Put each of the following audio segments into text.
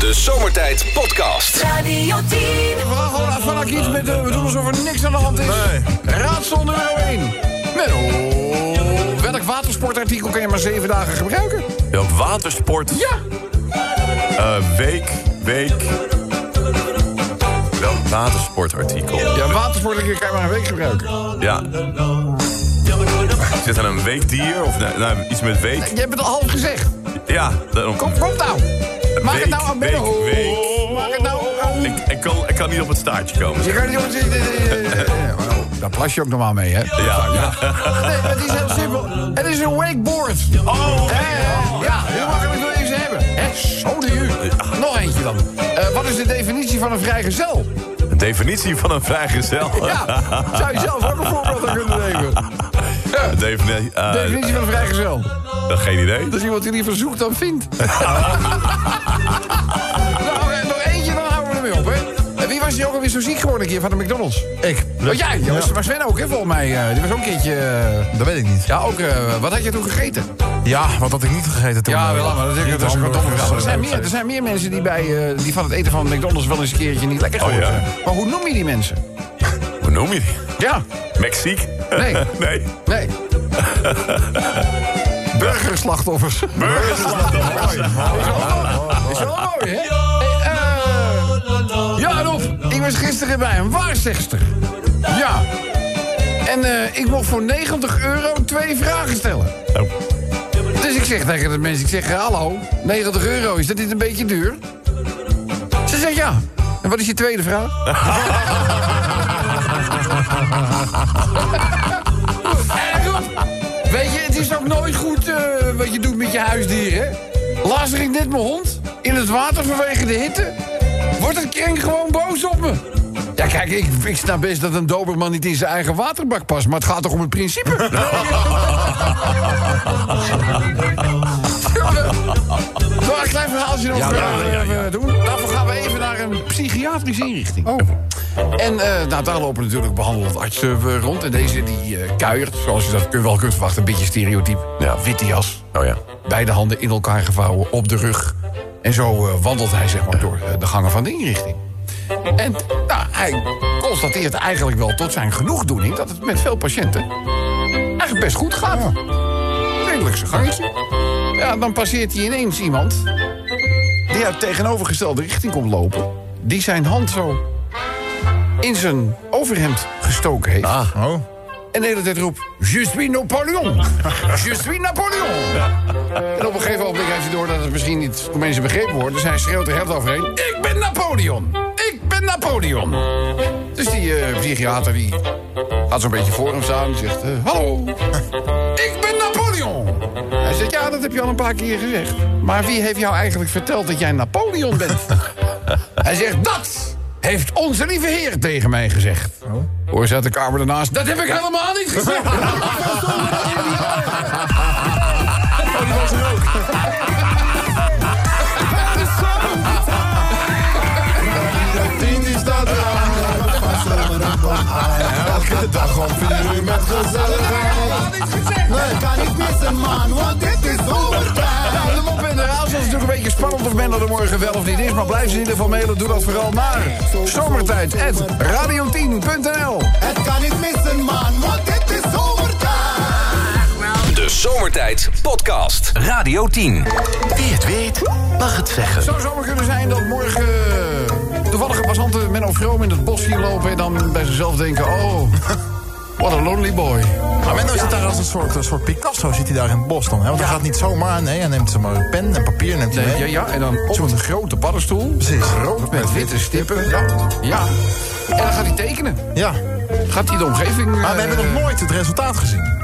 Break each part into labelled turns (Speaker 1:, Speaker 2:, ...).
Speaker 1: De Zomertijd Podcast.
Speaker 2: Radio 10.
Speaker 3: We gaan gewoon vanuit iets met de, we doen alsof er niks aan de hand is. Raadsel nummer 1. Menno, welk watersportartikel kan je maar zeven dagen gebruiken?
Speaker 4: Welk watersport?
Speaker 3: Ja,
Speaker 4: Eh, week, week. Welk watersportartikel?
Speaker 3: ja watersportartikel kan je maar een week gebruiken.
Speaker 4: Ja. Zit er een weekdier of nou, nou, iets met week?
Speaker 3: Je hebt het al half gezegd.
Speaker 4: Ja, daarom.
Speaker 3: Kom, kom nou. Maak het
Speaker 4: Week,
Speaker 3: nou aan Menno.
Speaker 4: week, week.
Speaker 3: Maak het nou aan...
Speaker 4: Ik, ik, kan, ik kan niet op het staartje komen.
Speaker 3: Je kan niet jongens... Daar plas je ook normaal mee, hè?
Speaker 4: Ja.
Speaker 3: Nee, maar het is heel simpel. Het is een wakeboard.
Speaker 4: Oh,
Speaker 3: Hè, hè? Ja, hoe makkelijk wil je ze hebben? Hè, zo de u. Nog eentje dan. Eh, wat is de definitie van een vrijgezel?
Speaker 4: een definitie van een vrijgezel.
Speaker 3: Ja, zou je zelf ook een voorbeeld aan kunnen nemen.
Speaker 4: Een defini- eh,
Speaker 3: Definitie van een vrijgezel.
Speaker 4: eh, geen idee.
Speaker 3: Dat is iemand die liever zoekt dan vindt. nou, eh, nog eentje, dan houden we ermee op, hè. En Wie was die ook alweer zo ziek geworden een keer van de McDonald's? Ik. Oh, jij? Ja, was- Maar Sven ook, hè, volgens mij. eh, die was ook een keertje... eh,
Speaker 5: Dat weet ik niet.
Speaker 3: ja, ook. eh, wat had je toen gegeten?
Speaker 5: Ja, wat had ik niet gegeten toen?
Speaker 3: Ja,
Speaker 5: eh,
Speaker 3: wel, maar dat, dat is gewoon
Speaker 5: hamburgers,
Speaker 3: domme vraag. Er zijn,
Speaker 5: eh,
Speaker 3: meer, er zijn meer mensen die, bij, eh, die van het eten van McDonald's wel eens een keertje niet lekker
Speaker 4: Oh,
Speaker 3: geworden
Speaker 4: ja.
Speaker 3: zijn. Maar hoe noem je die mensen?
Speaker 4: Hoe noem je die?
Speaker 3: Ja,
Speaker 4: Mexiek?
Speaker 3: Nee.
Speaker 4: nee.
Speaker 3: nee. Burgerslachtoffers. Burgerslachtoffers. Is wel mooi. Is wel mooi, hè? Hey, eh, ja, Rob, ik was gisteren bij een waarzegster. Ja. En eh, ik mocht voor 90 euro twee vragen stellen.
Speaker 4: Oh.
Speaker 3: Dus ik zeg tegen de mensen, ik zeg, eh, hallo, 90 euro, is dat niet een beetje duur? Ze zegt ja. En wat is je tweede vraag? En Rob, Weet je, het is ook nooit goed eh, wat je doet met je huisdieren. hè? Laatst ging net mijn hond in het water vanwege de hitte. Wordt het kring gewoon boos op me? Ja, kijk, ik, ik snap best dat een doberman niet in zijn eigen waterbak past... maar het gaat toch om het principe? Nog een klein verhaaltje nog eh, eh, doen. Daarvoor gaan we even naar een psychiatrische inrichting. Oh. En eh, nou, daar lopen natuurlijk behandelend artsen eh, rond. En deze die eh, kuiert, zoals je dat kun- wel kunt verwachten, een beetje stereotyp.
Speaker 4: Ja.
Speaker 3: Witte jas,
Speaker 4: Oh ja.
Speaker 3: beide handen in elkaar gevouwen, op de rug. En zo eh, wandelt hij zeg maar door eh, de gangen van de inrichting. En nou, hij constateert eigenlijk wel tot zijn genoegdoening... dat het met veel patiënten eigenlijk best goed gaat. Redelijk zijn gangetje. Ja, dan passeert hij ineens iemand... die uit tegenovergestelde richting komt lopen... die zijn hand zo in zijn overhemd gestoken heeft.
Speaker 5: Oh,
Speaker 3: En de hele tijd roept... Je suis Napoleon! Je suis Napoleon! En op een gegeven moment heeft hij door dat het misschien niet door mensen begrepen wordt. Dus hij schreeuwt er heel overheen... Ik ben Napoleon! Ik ben Napoleon! Dus die eh, psychiater die gaat zo'n beetje voor hem staan en zegt... eh, Hallo, ik ben Napoleon! Hij zegt, ja, dat heb je al een paar keer gezegd. Maar wie heeft jou eigenlijk verteld dat jij Napoleon bent? Hij zegt, dat heeft onze lieve heer tegen mij gezegd. Hoor, zat de kamer ernaast. Dat heb ik helemaal niet gezegd.
Speaker 5: Tientje staat eraan. Pas over een kom aan. Elke dag om vier uur met gezelligheid. Nee, kan niet missen man, want dit is zomertijd.
Speaker 3: Nou, de mop en de raadsel is natuurlijk een beetje spannend of men er morgen wel of niet is. Maar blijf ze in ieder geval mailen. Doe dat vooral naar zomertijd.radio10.nl
Speaker 5: Het kan niet missen man, want dit is zomertijd.
Speaker 1: De Zomertijd Podcast. Radio 10.
Speaker 6: Wie het weet, mag het zeggen.
Speaker 3: Het zou zomaar kunnen zijn dat morgen eh, toevallige passanten Menno Vroom in het bos hier lopen... en dan bij zichzelf denken, oh, what a lonely boy.
Speaker 5: Maar Menno zit daar als een soort, een soort Picasso, zit hij daar in het bos dan. Hè? Want hij gaat niet zomaar, nee, hij neemt maar een pen en papier neemt hij
Speaker 3: Nee,
Speaker 5: mee.
Speaker 3: ja, ja, en dan op een grote paddenstoel.
Speaker 5: Precies.
Speaker 3: Rood met witte stippen. Ja. ja. En dan gaat hij tekenen.
Speaker 5: Ja,
Speaker 3: Gaat hij de omgeving...
Speaker 5: maar we
Speaker 3: eh,
Speaker 5: hebben nog nooit het resultaat gezien.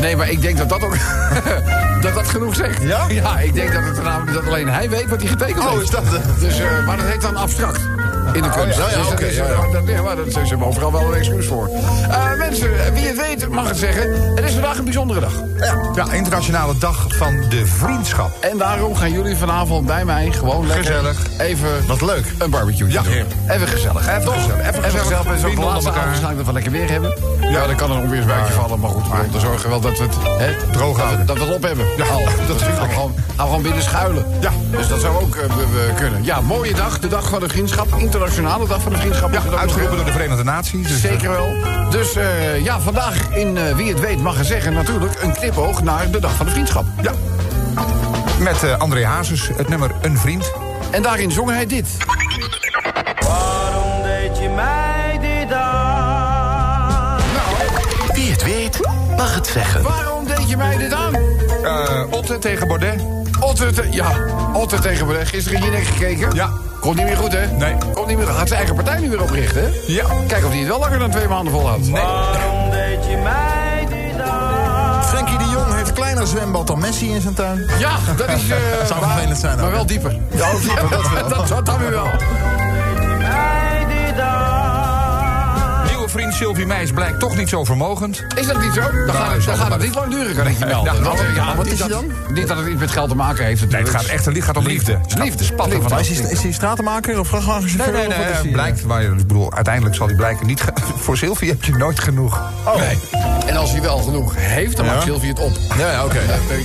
Speaker 3: Nee, maar ik denk dat dat ook... dat dat genoeg zegt.
Speaker 5: Ja? Oh,
Speaker 3: Ja, ik denk Oh, dat, het, namelijk- dat alleen hij weet wat hij getekend heeft.
Speaker 5: dat...
Speaker 3: Dus, eh, maar dat heet dan abstract. in de kunst.
Speaker 4: ja, ja,
Speaker 3: Dus dat
Speaker 4: oké,
Speaker 3: is,
Speaker 4: ja,
Speaker 3: eh,
Speaker 4: ja.
Speaker 3: dat- nee, maar dat- ze hebben overal wel een excuus voor. Eh, mensen, eh, wie het weet mag het zeggen. Het is vandaag een bijzondere dag.
Speaker 2: Ja, ja, internationale dag van de vriendschap.
Speaker 3: En daarom gaan jullie vanavond bij mij gewoon lekker
Speaker 2: Gezellig.
Speaker 3: even
Speaker 2: Wat leuk.
Speaker 3: een barbecue
Speaker 2: Ja.
Speaker 3: doen. Even gezellig.
Speaker 2: Even
Speaker 3: Toch?
Speaker 2: gezellig. Even
Speaker 3: Even
Speaker 2: gezellig.
Speaker 3: gezellig. En zo
Speaker 2: Vrienden
Speaker 3: de laatste
Speaker 2: onder elkaar.
Speaker 3: avond dat we lekker weer hebben. Ja, dan kan er een onweersbuitje vallen. Maar goed, we moeten zorgen wel dat we het hè,
Speaker 2: Droog
Speaker 3: dat we-
Speaker 2: houden.
Speaker 3: Dat we het op hebben.
Speaker 2: Ja,
Speaker 3: Al.
Speaker 2: natuurlijk.
Speaker 3: Gaan we, gewoon, gaan we gewoon binnen schuilen.
Speaker 2: Ja.
Speaker 3: Dus dat zou ook eh, we- we kunnen. Ja, mooie dag. De dag van de vriendschap. Internationale dag van de vriendschap.
Speaker 2: Ja,
Speaker 3: Is het ook nog, hè?
Speaker 2: uitgeroepen door de Verenigde Naties. Dus,
Speaker 3: Zeker wel. Dus eh, ja, vandaag in eh, Wie het weet mag er zeggen natuurlijk een knipoog naar de dag van de vriendschap.
Speaker 2: eh, Ja. Met eh, André Hazes, het nummer Een Vriend.
Speaker 3: En daarin zong hij dit.
Speaker 7: Waarom deed je mij dit aan?
Speaker 6: Wie het weet, mag het zeggen.
Speaker 3: Nou, Waarom deed je mij dit aan?
Speaker 2: Eh, Otte tegen Baudet.
Speaker 3: Otter, te- eh, ja, Otter tegen me. Gisteren hier gekeken.
Speaker 2: Ja.
Speaker 3: Komt niet meer goed, hè?
Speaker 2: Nee.
Speaker 3: Komt niet meer Gaat zijn eigen partij nu weer oprichten, hè?
Speaker 2: Ja.
Speaker 3: Kijk of hij het wel langer dan twee maanden volhoudt. Nee.
Speaker 7: Waarom deed je mij dit aan?
Speaker 8: Frenkie de Jong heeft kleiner zwembad dan Messi in zijn tuin.
Speaker 3: Ja, dat is... eh
Speaker 8: Zou
Speaker 3: maar-
Speaker 8: vervelend zijn,
Speaker 3: Maar
Speaker 8: ook,
Speaker 3: wel dieper. Ja, dieper, dat wel. dat, dat dan weer wel.
Speaker 7: Mij dit aan?
Speaker 2: Nieuwe vriend Sylvie Meijs blijkt toch niet zo vermogend.
Speaker 3: Is dat niet zo? Dan, gaat, het, dan gaat het niet lang duren, kan ik je melden.
Speaker 2: Ja,
Speaker 3: Want, eh, ja,
Speaker 8: wat
Speaker 3: niet
Speaker 8: is hij
Speaker 3: dat-
Speaker 8: dan?
Speaker 3: Niet dat het iets met geld te maken heeft.
Speaker 2: Nee, het gaat echt het gaat om liefde.
Speaker 3: Liefde, spatten
Speaker 2: Liefde.
Speaker 3: van
Speaker 8: Maar is hij, is hij stratenmaker of vrachtwagenchauffeur?
Speaker 2: Nee, nee, nee,
Speaker 8: of wat is
Speaker 2: eh,
Speaker 8: hij?
Speaker 2: blijkt, maar ik bedoel, uiteindelijk zal hij blijken niet... ge- Voor Sylvie heb je nooit genoeg.
Speaker 3: Nee. En als hij wel genoeg heeft, dan maakt Sylvie het op.
Speaker 8: Ja, ja, oké.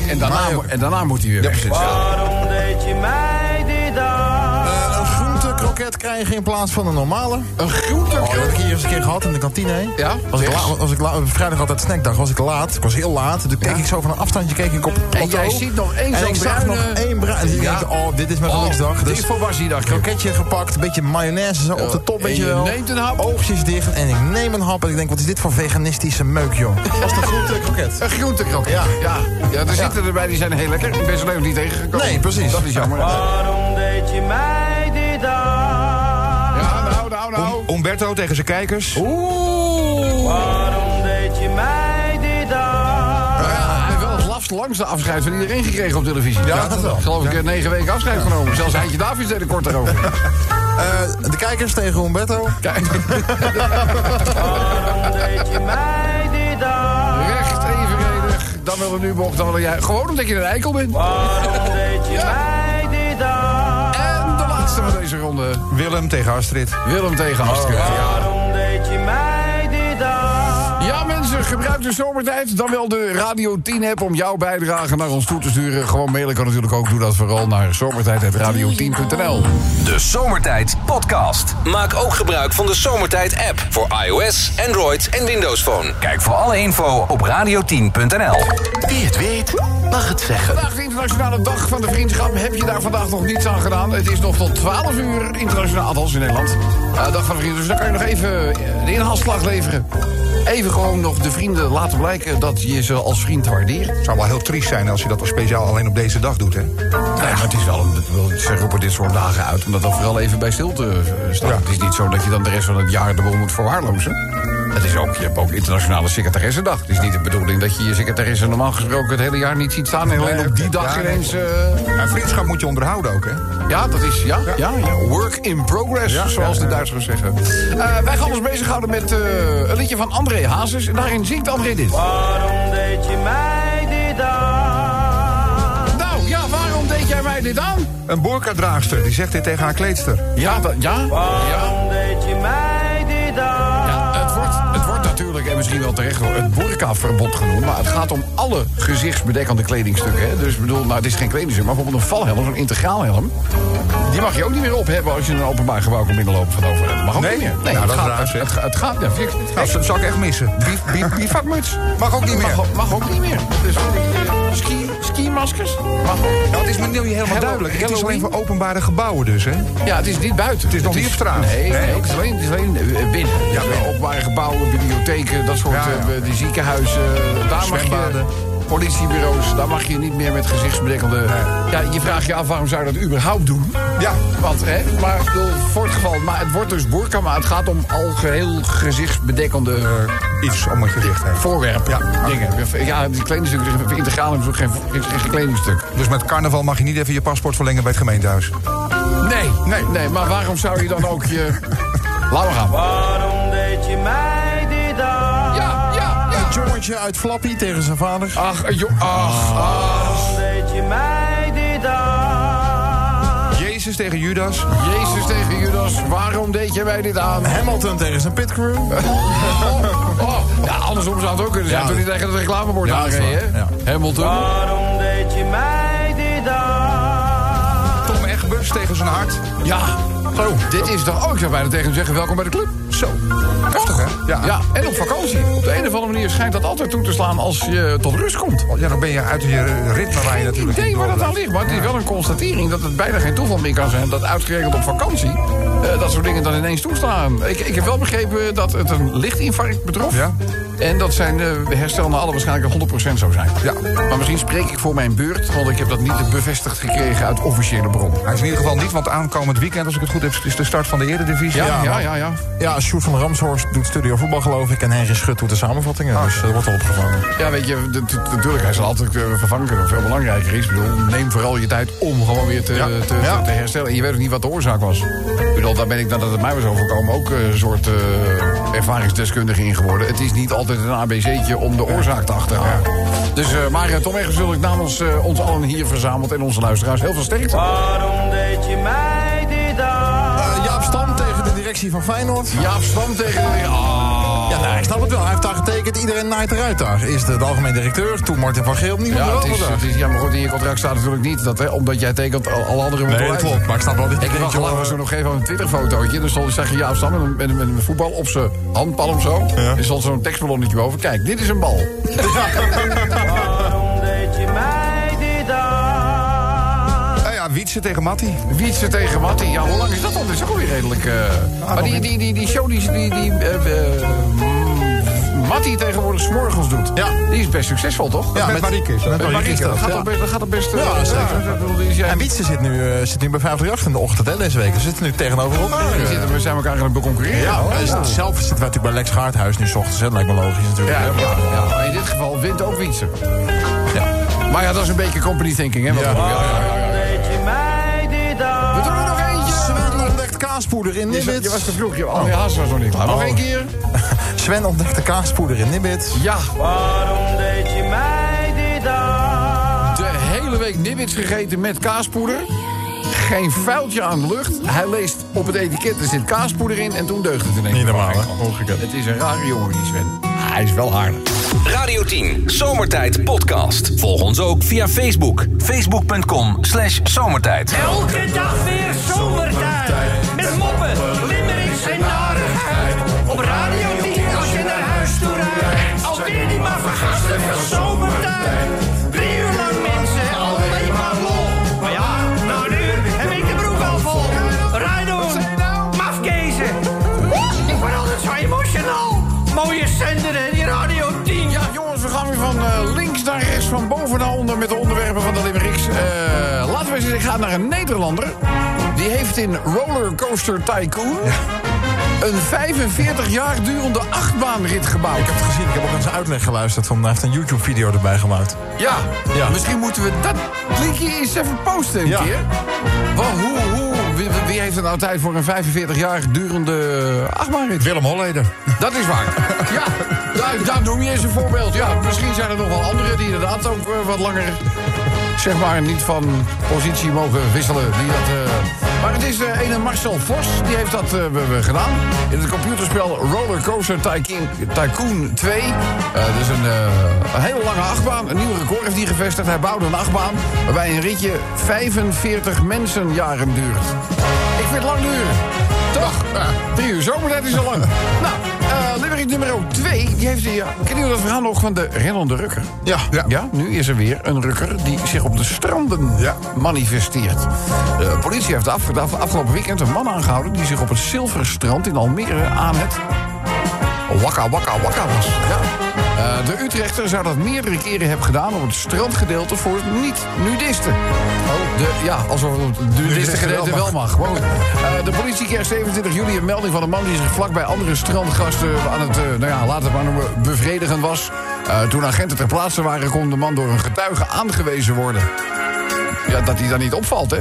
Speaker 3: En daarna, mo- en daarna moet hij weer weg.
Speaker 7: Waarom deed je mij dit aan?
Speaker 8: Eh, een groentekroket krijgen in plaats van een normale.
Speaker 3: Een groente.
Speaker 8: Oh, dat heb ik hier eens een keer gehad in de kantine. hè.
Speaker 3: Ja?
Speaker 8: Was ik
Speaker 3: Zeg.
Speaker 8: la- was ik la- vrijdag altijd snackdag, was ik laat. Ik was heel laat. Dus keek ik zo van een afstandje keek ik op het plateau.
Speaker 3: jij ziet nog één
Speaker 8: En
Speaker 3: zo'n
Speaker 8: ik zag
Speaker 3: bruine-
Speaker 8: nog één bruin. En ik
Speaker 3: Ja.
Speaker 8: denk, oh, dit is mijn geluksdag.
Speaker 3: dit
Speaker 8: Dus
Speaker 3: is voor Bassie, dacht ik.
Speaker 8: kroketje gepakt, een beetje mayonaise zo op de top,
Speaker 3: en
Speaker 8: weet je
Speaker 3: je
Speaker 8: wel.
Speaker 3: neemt een hap.
Speaker 8: Oogjes dicht en ik neem een hap en ik denk, wat is dit voor veganistische meuk, joh. Dat is de groentekroket.
Speaker 3: Een groentekroket. Ja.
Speaker 8: Ja.
Speaker 3: Ja. ja, er zitten erbij, die zijn heel lekker. Ik ben ze alleen nog niet tegengekomen.
Speaker 8: Nee, precies.
Speaker 3: Dat is jammer. Ja,
Speaker 7: Waarom deed je mij dit aan?
Speaker 3: nou, nou, nou.
Speaker 2: Umberto tegen zijn kijkers.
Speaker 7: Waarom deed je mij dit aan?
Speaker 3: Ja, hij heeft wel het last langste afscheid van iedereen gekregen op televisie. Ja,
Speaker 8: dat wel.
Speaker 3: Geloof ik eh, negen weken afscheid genomen. Zelfs Heintje Davids deed er kort over.
Speaker 8: Eh, de kijkers tegen Umberto.
Speaker 7: Waarom deed je mij dit aan?
Speaker 3: Recht, evenredig. Dan wil een nu-bocht, dan wil jij. Gewoon omdat je een eikel bent.
Speaker 7: Waarom deed je mij dit aan?
Speaker 3: En de laatste van deze ronde.
Speaker 2: Willem tegen Astrid.
Speaker 3: Willem tegen Astrid.
Speaker 7: Waarom deed je mij dit aan?
Speaker 3: Ja, mensen, gebruik de zomertijd. Dan wel de Radio 10-app om jouw bijdrage naar ons toe te sturen. Gewoon mailen kan natuurlijk ook. Doe dat vooral naar zomertijd.radio10.nl.
Speaker 1: De Zomertijd Podcast. Maak ook gebruik van de Zomertijd app voor iOS, Android en Windows Phone. Kijk voor alle info op radio10.nl.
Speaker 6: Wie het weet, mag het zeggen.
Speaker 3: Vandaag de internationale dag van de vriendschap. Heb je daar vandaag nog niets aan gedaan? Het is nog tot 12 uur internationaal, althans in Nederland. Eh, dag van de vriendschap. Dus dan kan je nog even eh, de inhaalslag leveren. Even gewoon nog de vrienden laten blijken dat je ze als vriend waardeert.
Speaker 2: Het zou wel heel triest zijn als je dat speciaal alleen op deze dag doet, hè?
Speaker 3: Nou ja, het is wel, een- dat wil- ze roepen dit soort dagen uit, omdat dat vooral even bij stilte eh, staat. Het is niet zo dat je dan de rest van het jaar de boel moet verwaarlozen. Het is ook, je hebt ook internationale secretaressendag. Het is niet de bedoeling dat je je secretaresse normaal gesproken het hele jaar niet ziet staan. En alleen op die dag
Speaker 2: Ja, nee.
Speaker 3: ineens... eh,
Speaker 2: En vriendschap moet je onderhouden ook, hè?
Speaker 3: ja, dat is, ja, ja, ja, work in progress, zoals de Duitsers zeggen. Eh, wij gaan ons bezighouden met eh, een liedje van André Hazes. En daarin zingt André dit.
Speaker 7: Waarom deed je mij dit aan?
Speaker 3: Nou, ja, waarom deed jij mij dit aan?
Speaker 2: Een boerkadraagster, die zegt dit tegen haar kleedster.
Speaker 3: Ja, dat, ja, ja.
Speaker 7: Waarom deed je mij dit aan?
Speaker 3: Ja, het wordt, het wordt natuurlijk, en misschien wel terecht, wel het burkaverbod genoemd. Maar het gaat om alle gezichtsbedekkende kledingstukken. Hè? Dus ik bedoel, nou, het is geen kledingstuk, maar bijvoorbeeld een valhelm, een integraalhelm. Die mag je ook niet meer op hebben als je in een openbaar gebouw komt binnenlopen van over. Dat mag ook
Speaker 2: Nee?
Speaker 3: niet meer.
Speaker 2: Nou,
Speaker 3: het,
Speaker 2: dat
Speaker 3: gaat,
Speaker 2: raar,
Speaker 3: het,
Speaker 2: zeg.
Speaker 3: het, het gaat. Ja, vind ik-
Speaker 2: Nou, dat zou ik echt missen. Bief, bief, bivakmuts. Mag ook niet meer.
Speaker 3: mag, ook- mag ook niet meer. Dus eh, ski, skimaskers? Mag ook.
Speaker 2: Nou, het is me nu helemaal
Speaker 3: Hello-
Speaker 2: duidelijk. Het is alleen
Speaker 3: Halloween?
Speaker 2: voor openbare gebouwen dus, hè?
Speaker 3: Ja, het is niet buiten. Het
Speaker 2: is nog niet op straat.
Speaker 3: Nee, nee,
Speaker 2: Nee,
Speaker 3: het is alleen, het is alleen eh, binnen. Ja,
Speaker 2: binnen.
Speaker 3: Openbare gebouwen, bibliotheken, dat soort
Speaker 2: Ja, ja.
Speaker 3: eh, die ziekenhuizen. eh, Daar mag je,
Speaker 2: Zwembaden.
Speaker 3: politiebureaus, daar mag je niet meer met gezichtsbedekkende... Ja, je vraagt je af waarom zou je dat überhaupt doen?
Speaker 2: Ja.
Speaker 3: Want, hè, maar ik bedoel, voor het geval... Maar het wordt dus burka, maar het gaat om algeheel gezichtsbedekkende
Speaker 2: Iets om het gezicht heen.
Speaker 3: voorwerpen.
Speaker 2: Ja.
Speaker 3: Dingen. Ja, die kledingstuk, integraal is ook geen, geen, geen kledingstuk.
Speaker 2: Dus met carnaval mag je niet even je paspoort verlengen bij het gemeentehuis.
Speaker 3: Nee, Nee, nee, maar waarom zou je dan ook je... Laten we gaan.
Speaker 7: Waarom deed je mij dit aan?
Speaker 3: Ja, ja, ja.
Speaker 8: Het jongetje uit Flappy tegen zijn vader.
Speaker 3: Ach, eh, joh, ach, ach.
Speaker 7: Waarom deed je mij dit aan?
Speaker 2: Jezus tegen Judas.
Speaker 3: Jezus tegen Judas, waarom deed je mij dit aan?
Speaker 8: Hamilton tegen zijn pitcrew.
Speaker 3: Oh, ja, andersom zou het ook kunnen zijn.
Speaker 8: Ja.
Speaker 3: Toen hij tegen het reclamebord
Speaker 8: Ja, Ah. dat is
Speaker 3: aanreed, hè?
Speaker 8: waar,
Speaker 3: Hamilton.
Speaker 7: Waarom deed je mij dit aan?
Speaker 2: Tom Egbers tegen zijn hart. Oh,
Speaker 3: Ja. Zo, dit is toch ook, ik zou bijna tegen hem zeggen, welkom bij de club. Zo. Prachtig, hè? Ja. ja, en op vakantie. Op de een of andere manier schijnt dat altijd toe te slaan als je tot rust komt.
Speaker 2: Oh, Ja, dan ben je uit je eh, ritme waar je
Speaker 3: Ik
Speaker 2: natuurlijk
Speaker 3: idee
Speaker 2: niet
Speaker 3: waar dat nou aan
Speaker 2: doorblijft.
Speaker 3: ligt, maar het is wel een constatering dat het bijna geen toeval meer kan zijn... dat uitgerekend op vakantie eh, dat soort dingen dan ineens toeslaan. Ik, ik heb wel begrepen dat het een lichtinfarct betrof.
Speaker 2: Ja.
Speaker 3: En dat zijn eh, herstel naar alle waarschijnlijk 100% zou zijn.
Speaker 2: Ja.
Speaker 3: Maar misschien spreek ik voor mijn beurt, want ik heb dat niet bevestigd gekregen uit officiële bron.
Speaker 2: Hij is in ieder geval niet, want aankomend weekend, als ik het goed heb, is de start van de Eredivisie.
Speaker 3: Ja, ja,
Speaker 8: maar-
Speaker 3: ja, ja.
Speaker 8: Ja, Sjoerd van Ramshorst doet studio voetbal geloof ik. En Henry Schut doet de samenvattingen. dus dat wordt al opgevangen.
Speaker 3: Ja, weet je, d- d- natuurlijk, hij zal altijd eh, vervangen kunnen. Veel belangrijker is, ik bedoel, neem vooral je tijd om gewoon weer te, te, te-
Speaker 8: Ja.
Speaker 3: te herstellen. En je weet ook niet wat de oorzaak was. Ik bedoel, daar ben ik, nadat het mij was overkomen, ook eh, een soort eh, ervaringsdeskundige in geworden. Het is niet altijd een ABC'tje om de oorzaak te achterhalen. Dus, eh, maar eh, Tom Eggers wil ik namens eh, ons allen hier verzameld en onze luisteraars heel veel sterkte.
Speaker 7: Waarom deed je mij dit aan?
Speaker 8: Eh, Jaap Stam tegen de directie van Feyenoord.
Speaker 3: Jaap Stam tegen de... Ah.
Speaker 8: Ja, nou, ik snap het wel. Hij heeft daar getekend. Iedereen naait eruit daar. Eerst eh, de, de algemeen directeur, toen Martin van Geel. Niemand
Speaker 3: Ja,
Speaker 8: ja,
Speaker 3: het is, het is, ja, maar goed, in je contract staat natuurlijk niet dat, hè, omdat jij tekent, al- alle anderen moeten
Speaker 4: Nee, dat
Speaker 3: blijven.
Speaker 4: klopt.
Speaker 8: Maar ik snap wel eh, dit
Speaker 3: Ik heb wel
Speaker 8: dingetje,
Speaker 3: gelachen,
Speaker 8: hoor.
Speaker 3: was er nog even een Twitter-fotootje. Dan stond, zag je Jaap Stam met een, met, een- met een voetbal op zijn handpalm zo. Er stond zo'n tekstballonnetje boven. Kijk, dit is een bal.
Speaker 7: Waarom deed je mij dit aan?
Speaker 2: Nou ja, Wietse tegen Matti.
Speaker 3: Wietse tegen Mattie. Ja, hoe lang is dat al? Dat is ook alweer redelijk... eh.
Speaker 8: Ah,
Speaker 3: maar die, die, die, die show die... die, die eh, eh, Mattie tegenwoordig s'morgens doet.
Speaker 8: Ja.
Speaker 3: Die is best succesvol, toch?
Speaker 8: Ja,
Speaker 2: Met Marieke is dat.
Speaker 8: Met Marieke. is
Speaker 3: Dat
Speaker 8: dat.
Speaker 3: gaat
Speaker 8: Ja.
Speaker 3: toch best... Dat gaat toch best eh,
Speaker 8: Ja,
Speaker 3: ja,
Speaker 8: zeker.
Speaker 3: dat- dat- die zijn-
Speaker 8: En Wietse zit nu, eh, zit nu bij 538 in de ochtend hè, deze week. Ze zitten nu tegenover elkaar.
Speaker 3: Oh, die zitten- we zijn elkaar aan het beconcurreren.
Speaker 8: Ah, Ja, hij zit- zelf zitten wij natuurlijk bij Lex Gaardhuis nu 's ochtends. hè. Dat lijkt me logisch natuurlijk.
Speaker 3: Ja,
Speaker 8: hè,
Speaker 3: ja,
Speaker 8: maar-
Speaker 3: ja. Maar in dit geval wint ook Wietse.
Speaker 8: Ja.
Speaker 3: Maar ja, dat is een beetje company thinking, hè? wat we doen. Ja, ja, ja, ja.
Speaker 7: Deed je mij dit
Speaker 3: We
Speaker 7: aan?
Speaker 3: doen er nog eentje.
Speaker 8: Sven ontdekt kaaspoeder in
Speaker 3: Je, je was
Speaker 8: Nibbit.
Speaker 3: te vroeg, je André Haas was nog niet klaar. Nog
Speaker 8: Oh.
Speaker 3: één keer?
Speaker 8: Sven ontdekt de kaaspoeder in Nibbit.
Speaker 3: Ja,
Speaker 7: Waarom deed je mij dit aan?
Speaker 3: de hele week nibbits gegeten met kaaspoeder. Geen vuiltje aan de lucht. Hij leest op het etiket, er zit kaaspoeder in en toen deugde het ineens. Oh,
Speaker 8: Niet normaal, hè? Ongekend.
Speaker 3: Het is een rare jongen, die Sven. Hij is wel aardig.
Speaker 1: Radio 10, Zomertijd Podcast. Volg ons ook via Facebook. Facebook.com slash zomertijd.
Speaker 7: Elke dag weer zomertijd. Met moppen, limmerings en narigheid. Op Radio 10 als je naar huis toe rijdt. Alweer die maar vergasten van zomertijd. Drie uur lang mensen, alleen maar lol. Maar ja, nou nu heb ik de broek al vol. Rijdoen, mafkezen. Oeh, Ik word altijd zo emotional. Mooie zender en die Radio 10.
Speaker 3: Ja, jongens, we gaan weer van eh, links naar rechts, van boven naar onder met de onderwerpen van de Limericks. Eh, laten we eens eens gaan naar een Nederlander. Die heeft in Rollercoaster Tycoon een 45 jaar durende achtbaanrit gebouwd.
Speaker 8: Ik heb het gezien, ik heb ook eens uitleg geluisterd. Van, hij heeft een YouTube-video erbij gemaakt.
Speaker 3: Ja,
Speaker 8: Ja.
Speaker 3: misschien moeten we dat linkje eens even posten een
Speaker 8: Ja.
Speaker 3: keer. Want hoe, hoe, wie, wie heeft er nou tijd voor een 45 jaar durende achtbaanrit?
Speaker 8: Willem Holleder.
Speaker 3: Dat is waar. Ja, daar, daar noem je eens een voorbeeld. Ja, misschien zijn er nog wel anderen die inderdaad ook eh, wat langer... zeg maar niet van positie mogen wisselen. Die dat, eh, Maar het is eh ene Marcel Vos, die heeft dat eh, we- we gedaan. In het computerspel Rollercoaster Tycoon, Tycoon 2. Eh, dat is een, eh, een hele lange achtbaan. Een nieuw record heeft hij gevestigd. Hij bouwde een achtbaan waarbij een ritje 45 mensenjaren duurt. Ik vind het lang duren. Toch? Drie uur zomertijd is al lang. nou, eh Limerick nummer 2, die heeft... Ja, kennen jullie dat verhaal nog van de rennende rukker?
Speaker 8: Ja.
Speaker 3: ja. nu is er weer een rukker die zich op de stranden
Speaker 8: Ja.
Speaker 3: manifesteert. De politie heeft af, de af- afgelopen weekend een man aangehouden... die zich op het zilveren strand in Almere aan het... Wakka, wakka, wakka was. Ja. Eh, de Utrechter zou dat meerdere keren hebben gedaan... op het strandgedeelte voor niet-nudisten. Oh. De, ja, alsof het op het nudistengedeelte wel mag. Wow. Eh, de politie kreeg 27 juli een melding van een man... die zich vlakbij andere strandgasten aan het, eh, nou ja, laten we het maar noemen, bevredigen was. Eh, toen agenten ter plaatse waren, kon de man door een getuige aangewezen worden. Ja, dat hij dan niet opvalt, hè?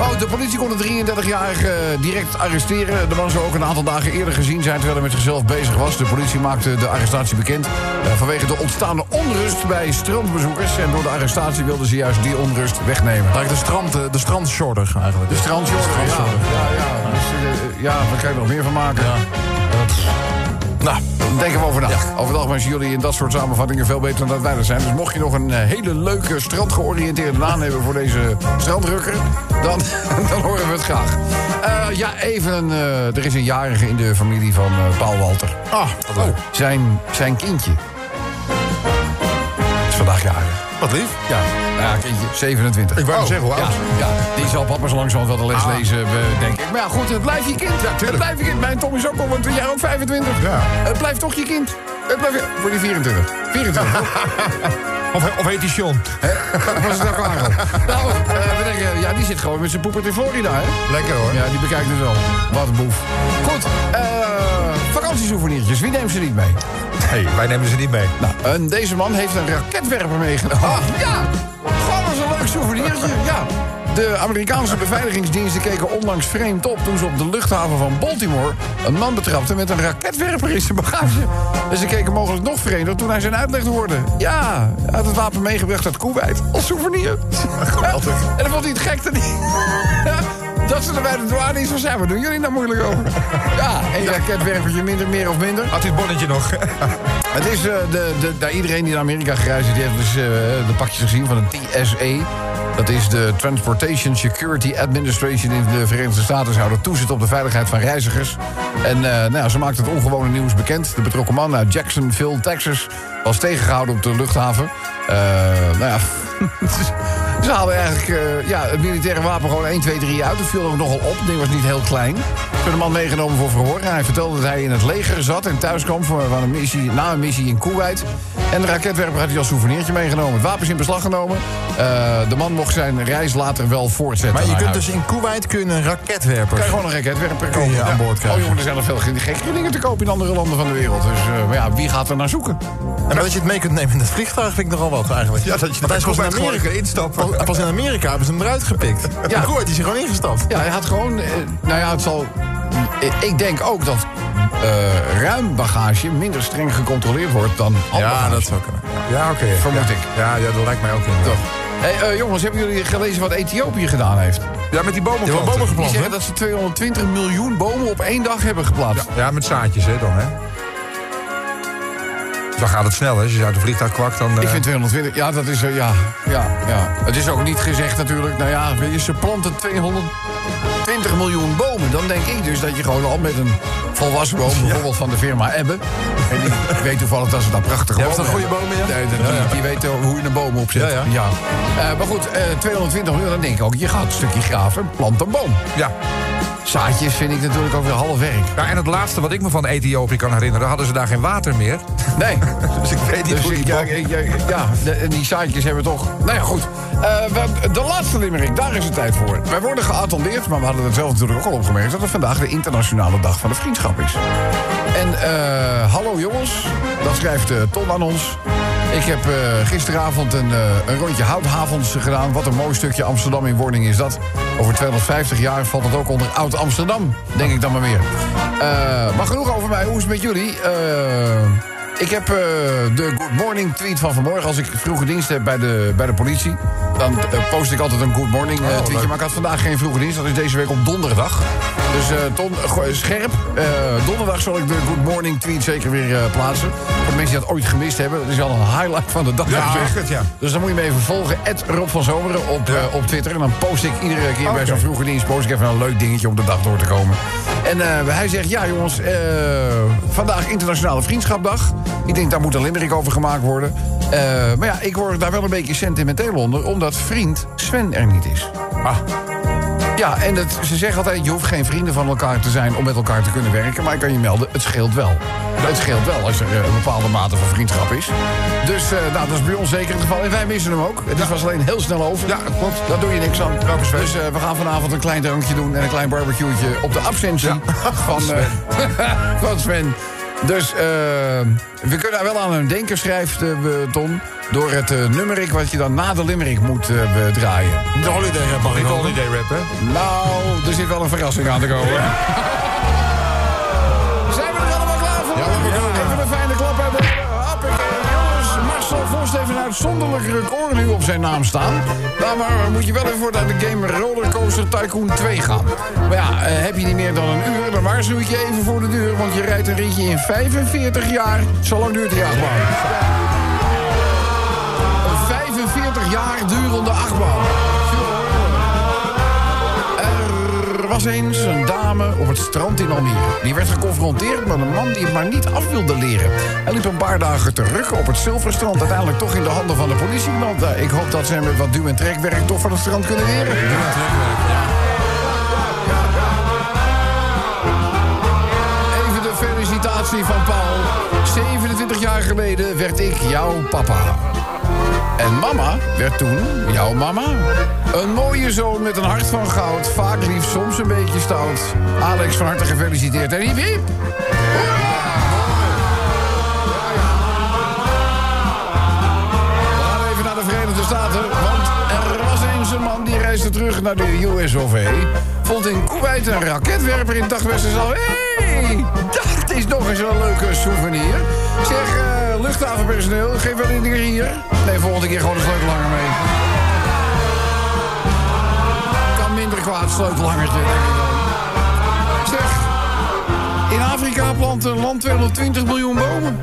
Speaker 3: Oh, de politie kon de 33-jarige direct arresteren. De man zou ook een aantal dagen eerder gezien zijn terwijl hij met zichzelf bezig was. De politie maakte de arrestatie bekend eh, vanwege de ontstaande onrust bij strandbezoekers. En door de arrestatie wilden ze juist die onrust wegnemen.
Speaker 8: Eigenlijk de, strand, eh, de strandshorter eigenlijk. Dus
Speaker 3: De strandjorgen, ja. Ja,
Speaker 8: Strandjorgen.
Speaker 3: ja. Dus, eh, ja, daar kan je nog meer van maken.
Speaker 8: Nou,
Speaker 3: Denk er maar over na. Over het algemeen zijn jullie in dat soort samenvattingen veel beter dan dat wij er zijn. Dus mocht je nog een eh, hele leuke strandgeoriënteerde naam hebben voor deze strandrukker, dan, dan horen we het graag. Eh, ja, even. een, eh, er is een jarige in de familie van eh, Paul Walter.
Speaker 8: ah,
Speaker 3: Oh, zijn, zijn kindje. Is vandaag jarig.
Speaker 8: wat lief.
Speaker 3: Ja, nou ja, kindje, 27.
Speaker 2: Ik wou
Speaker 3: Oh,
Speaker 2: zeggen, hoe oud? Ah.
Speaker 3: Ja, ja, die zal papa's langzamerhand wel de les lezen, eh, denk ik. Maar ja, goed, het blijft je kind. het blijft je kind. Mijn Tom is ook al een jaar of 25.
Speaker 2: Ja.
Speaker 3: Het blijft toch je kind. Het blijft je... Voor die 24. 24.
Speaker 8: Of, of heet die Sean?
Speaker 3: Hè? Was het nou klaar? al? Nou, eh, we denken, ja, die zit gewoon met zijn poepert in Florida, hè?
Speaker 2: Lekker hoor.
Speaker 3: Ja, die bekijkt het wel. Wat een boef. Goed, eh vakantiesouvenirtjes. Wie neemt ze niet mee?
Speaker 2: Nee, wij nemen ze niet mee.
Speaker 3: Nou, en deze man heeft een raketwerper meegenomen. Ah, ja! Gewoon als een leuk souvenirtje. Ja. De Amerikaanse beveiligingsdiensten keken onlangs vreemd op... toen ze op de luchthaven van Baltimore een man betrapten... met een raketwerper in zijn bagage. En ze keken mogelijk nog vreemder toen hij zijn uitleg hoorde. Ja, hij had het wapen meegebracht uit Kuwait. Als souvenir.
Speaker 2: Geweldig.
Speaker 3: En dan vond hij het gek dat hij... Dat ze er bij de douane is van zijn, wat doen jullie nou moeilijk over? Ja, een raketwerpertje minder, meer of minder.
Speaker 2: Had hij het bonnetje nog?
Speaker 3: Het is eh, de, de, daar iedereen die naar Amerika gereisd is, die heeft dus eh, de pakjes gezien van de TSA. Dat is de Transportation Security Administration in de Verenigde Staten. Ze houden toezicht op de veiligheid van reizigers. En eh, nou, ja, ze maakt het ongewone nieuws bekend. De betrokken man uit Jacksonville, Texas, was tegengehouden op de luchthaven. Eh, nou ja, ze haalden eigenlijk eh, ja, het militaire wapen gewoon 1, 2, 3 uit. Het viel ook nogal op. Het ding was niet heel klein. Ze hebben de man meegenomen voor verhoor. En hij vertelde dat hij in het leger zat en thuis kwam voor, van een missie, na een missie in Kuwait. En de raketwerper had hij als souvenirtje meegenomen. Het wapen is in beslag genomen. Eh, de man mocht zijn reis later wel voortzetten.
Speaker 8: Maar je
Speaker 3: naar
Speaker 8: kunt
Speaker 3: huis.
Speaker 8: dus in Kuwait kun je een
Speaker 3: Kan
Speaker 8: raketwerper.
Speaker 3: je gewoon een raketwerper
Speaker 8: Kun je
Speaker 3: kopen.
Speaker 8: aan boord krijgen.
Speaker 3: Oh jongen, er zijn nog veel gek- gekkere dingen te kopen in andere landen van de wereld. Dus eh, maar ja, wie gaat er naar zoeken?
Speaker 8: En dat je het mee kunt nemen in het vliegtuig vind ik nogal wat eigenlijk.
Speaker 2: Ja, dat je
Speaker 8: Want hij is pas in
Speaker 2: Kuwait gewoon
Speaker 8: Amerika
Speaker 2: kan instappen.
Speaker 8: Pas, pas in Amerika hebben ze hem eruit gepikt. Ja. In Kuwait is hij gewoon ingestapt.
Speaker 3: Ja, hij had gewoon. eh, nou ja, het zal. eh, Ik denk ook dat eh, ruim bagage minder streng gecontroleerd wordt dan handbagage.
Speaker 8: zou kunnen.
Speaker 2: Ja, oké.
Speaker 3: Vermoed
Speaker 2: ja.
Speaker 3: ik.
Speaker 2: Ja, ja, dat lijkt mij ook in.
Speaker 3: toch. Hey, eh, jongens, hebben jullie gelezen wat Ethiopië gedaan heeft?
Speaker 2: Ja, met die bomen.
Speaker 8: hebben bomen
Speaker 3: Die
Speaker 8: geplant, hè?
Speaker 3: zeggen dat ze 220 miljoen bomen op één dag hebben geplaatst.
Speaker 2: Nou, Ja, met zaadjes, hè, dan, hè? Dan gaat het snel, hè? Als je uit de vliegtuig kwakt, dan... eh,
Speaker 3: Ik vind 220, ja, dat is, eh, ja, ja, ja. Het is ook niet gezegd natuurlijk, nou ja, weet je, ze planten 220 miljoen bomen. Dan denk ik dus dat je gewoon al met een volwassen boom, bijvoorbeeld van de firma Ebbe. En die weet toevallig dat ze daar prachtige
Speaker 8: Ja,
Speaker 3: bomen
Speaker 8: is dat goede
Speaker 3: hebben.
Speaker 8: bomen, ja?
Speaker 3: Nee, dat- Die, die weten hoe je een boom opzet.
Speaker 8: Ja, ja.
Speaker 3: Eh, maar goed, eh, 220 miljoen, dan denk ik ook, je gaat een stukje graven, plant een boom.
Speaker 2: Ja.
Speaker 3: Zaadjes vind ik natuurlijk ook weer half werk.
Speaker 2: ja. En het laatste wat ik me van Ethiopië kan herinneren... hadden ze daar geen water meer.
Speaker 3: Nee.
Speaker 2: Dus ik weet niet
Speaker 3: Dus
Speaker 2: hoe die
Speaker 3: ik- ja,
Speaker 2: bomen...
Speaker 3: ik- ja, ja, de- en die saaitjes hebben toch... Nou ja, goed. Eh, we- de laatste limerick, daar is het tijd voor. Wij worden geattendeerd, maar we hadden het zelf natuurlijk ook al opgemerkt... dat het vandaag de internationale dag van de vriendschap is. En eh, hallo jongens, dat schrijft eh, Ton aan ons. Ik heb eh, gisteravond een, eh, een rondje houthavens gedaan. Wat een mooi stukje Amsterdam in wording is dat. Over 250 jaar valt het ook onder Oud-Amsterdam, denk ik dan maar weer. Eh, maar genoeg over mij, hoe is het met jullie? Eh, ik heb eh, de good morning tweet van vanmorgen. Als ik vroege dienst heb bij de, bij de politie... dan eh, post ik altijd een good morning
Speaker 2: Oh,
Speaker 3: eh, tweetje. Maar ik had vandaag geen vroege dienst. Dat is deze week op donderdag. Dus eh, Ton, go- scherp. Eh, donderdag zal ik de good morning tweet zeker weer eh, plaatsen. Voor de mensen die dat ooit gemist hebben. Dat is al een highlight van de dag.
Speaker 2: Ja,
Speaker 3: heb ik
Speaker 2: echt het, ja.
Speaker 3: Dus dan moet je me even volgen. Ed Rob van Zomeren op, eh, op Twitter. En dan post ik iedere keer bij
Speaker 2: Oké.
Speaker 3: zo'n vroege dienst... post ik even een leuk dingetje om de dag door te komen. En eh, hij zegt, ja jongens, eh, vandaag Internationale Vriendschapdag. Ik denk, daar moet een limerick over gemaakt worden. Eh, maar ja, ik word daar wel een beetje sentimenteel onder... omdat vriend Sven er niet is. Ja, en het, ze zeggen altijd, je hoeft geen vrienden van elkaar te zijn... om met elkaar te kunnen werken, maar ik kan je melden, het scheelt wel. Het scheelt wel als er eh, een bepaalde mate van vriendschap is. Dus eh, nou, dat is bij ons zeker het geval. En wij missen hem ook. Het is was alleen heel snel over. Ja, klopt. Daar doe je niks aan. Dus eh, we gaan vanavond een klein drankje doen en een klein barbecue'tje... op de absentie van, eh, van Sven. Dus eh, we kunnen wel aan een denker schrijft eh, we- Ton... door het eh, nummerik wat je dan na de limerick moet eh, we- draaien.
Speaker 8: De holiday rap mag ik holiday rap, hè?
Speaker 3: Nou, er zit wel een verrassing aan te komen. Zijn we eh. er allemaal klaar voor? Ja, Even een fijne klap hebben. Hoppakee, eh, jongens. Marcel Vos heeft een uitzonderlijk record nu op zijn naam staan. Nou, maar moet je wel even voor naar de game Rollercoaster Tycoon 2 gaan. Maar ja, eh, heb je niet meer dan een uur, dan waarschuw ik je even voor de deur. Want je rijdt een ritje in 45 jaar. Zo lang duurt die achtbaan. Een 45 jaar durende achtbaan. Er was eens een dame op het strand in Almere. Die werd geconfronteerd met een man die het maar niet af wilde leren. Hij liep een paar dagen terug op het Zilverstrand. Uiteindelijk toch in de handen van de politiemand. Nou, Ik hoop dat ze hem met wat duw- en trekwerk toch van het strand kunnen leren. Even de felicitatie van Paul. 27 jaar geleden werd ik jouw papa. En mama werd toen jouw mama. Een mooie zoon met een hart van goud. Vaak lief, soms een beetje stout. Alex, van harte gefeliciteerd. En hiep, hiep. gaan even naar de Verenigde Staten. Want er was eens een man die reisde terug naar de US of A. Vond in Kuwait een raketwerper in dagwestenzaal. Hé, hey, dat is nog eens een leuke souvenir. Zeg, eh, luchthavenpersoneel, geef wel in hier. Nee, volgende keer gewoon een sleutel langer mee. Kan minder kwaad, sleutelhangertje. denk ik dan. Zeg, in Afrika plant een land 220 miljoen bomen.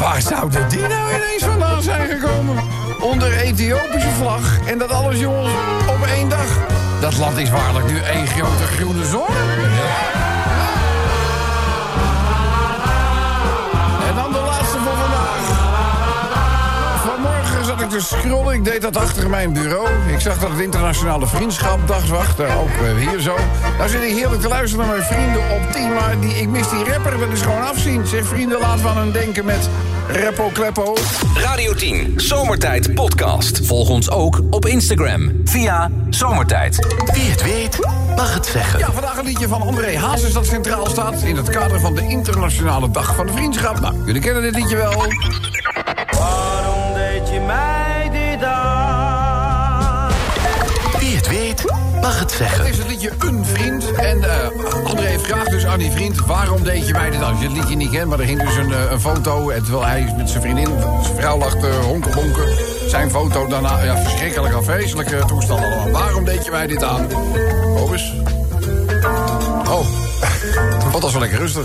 Speaker 3: Waar zouden die nou ineens vandaan zijn gekomen? Onder Ethiopische vlag en dat alles, jongens, op één dag. Dat land is waarlijk nu één grote groene zon. En dan de laatste voor vandaag. Vanmorgen zat ik te scrollen. Ik deed dat achter mijn bureau. Ik zag dat het Internationale Vriendschapdag was. Daar ook eh, hier zo. Daar zit ik heerlijk te luisteren naar mijn vrienden op 10. Maar die, ik mis die rapper. Dat is gewoon afzien. Zeg, vrienden, laten we aan hem denken met Repo Kleppo.
Speaker 1: Radio 10, Zomertijd Podcast. Volg ons ook op Instagram via Zomertijd.
Speaker 6: Wie het weet, mag het zeggen.
Speaker 3: Ja, vandaag een liedje van André Hazes dat centraal staat... in het kader van de Internationale Dag van de Vriendschap. Nou, jullie kennen dit liedje wel.
Speaker 7: Waarom deed je mij dit aan?
Speaker 6: Wie het weet, mag het
Speaker 3: Het
Speaker 6: zeggen.
Speaker 3: is het liedje Een Vriend. En eh, André vraagt dus aan die vriend... waarom deed je mij dit aan? Als je het liedje niet kent, maar er hing dus een, eh, een foto... en terwijl hij met zijn vriendin, zijn vrouw lag te honkenbonken... zijn foto daarna, ja, verschrikkelijk afwezenlijke toestand allemaal. Waarom deed je mij dit aan? Oh, eens. Oh, wat was wel lekker rustig.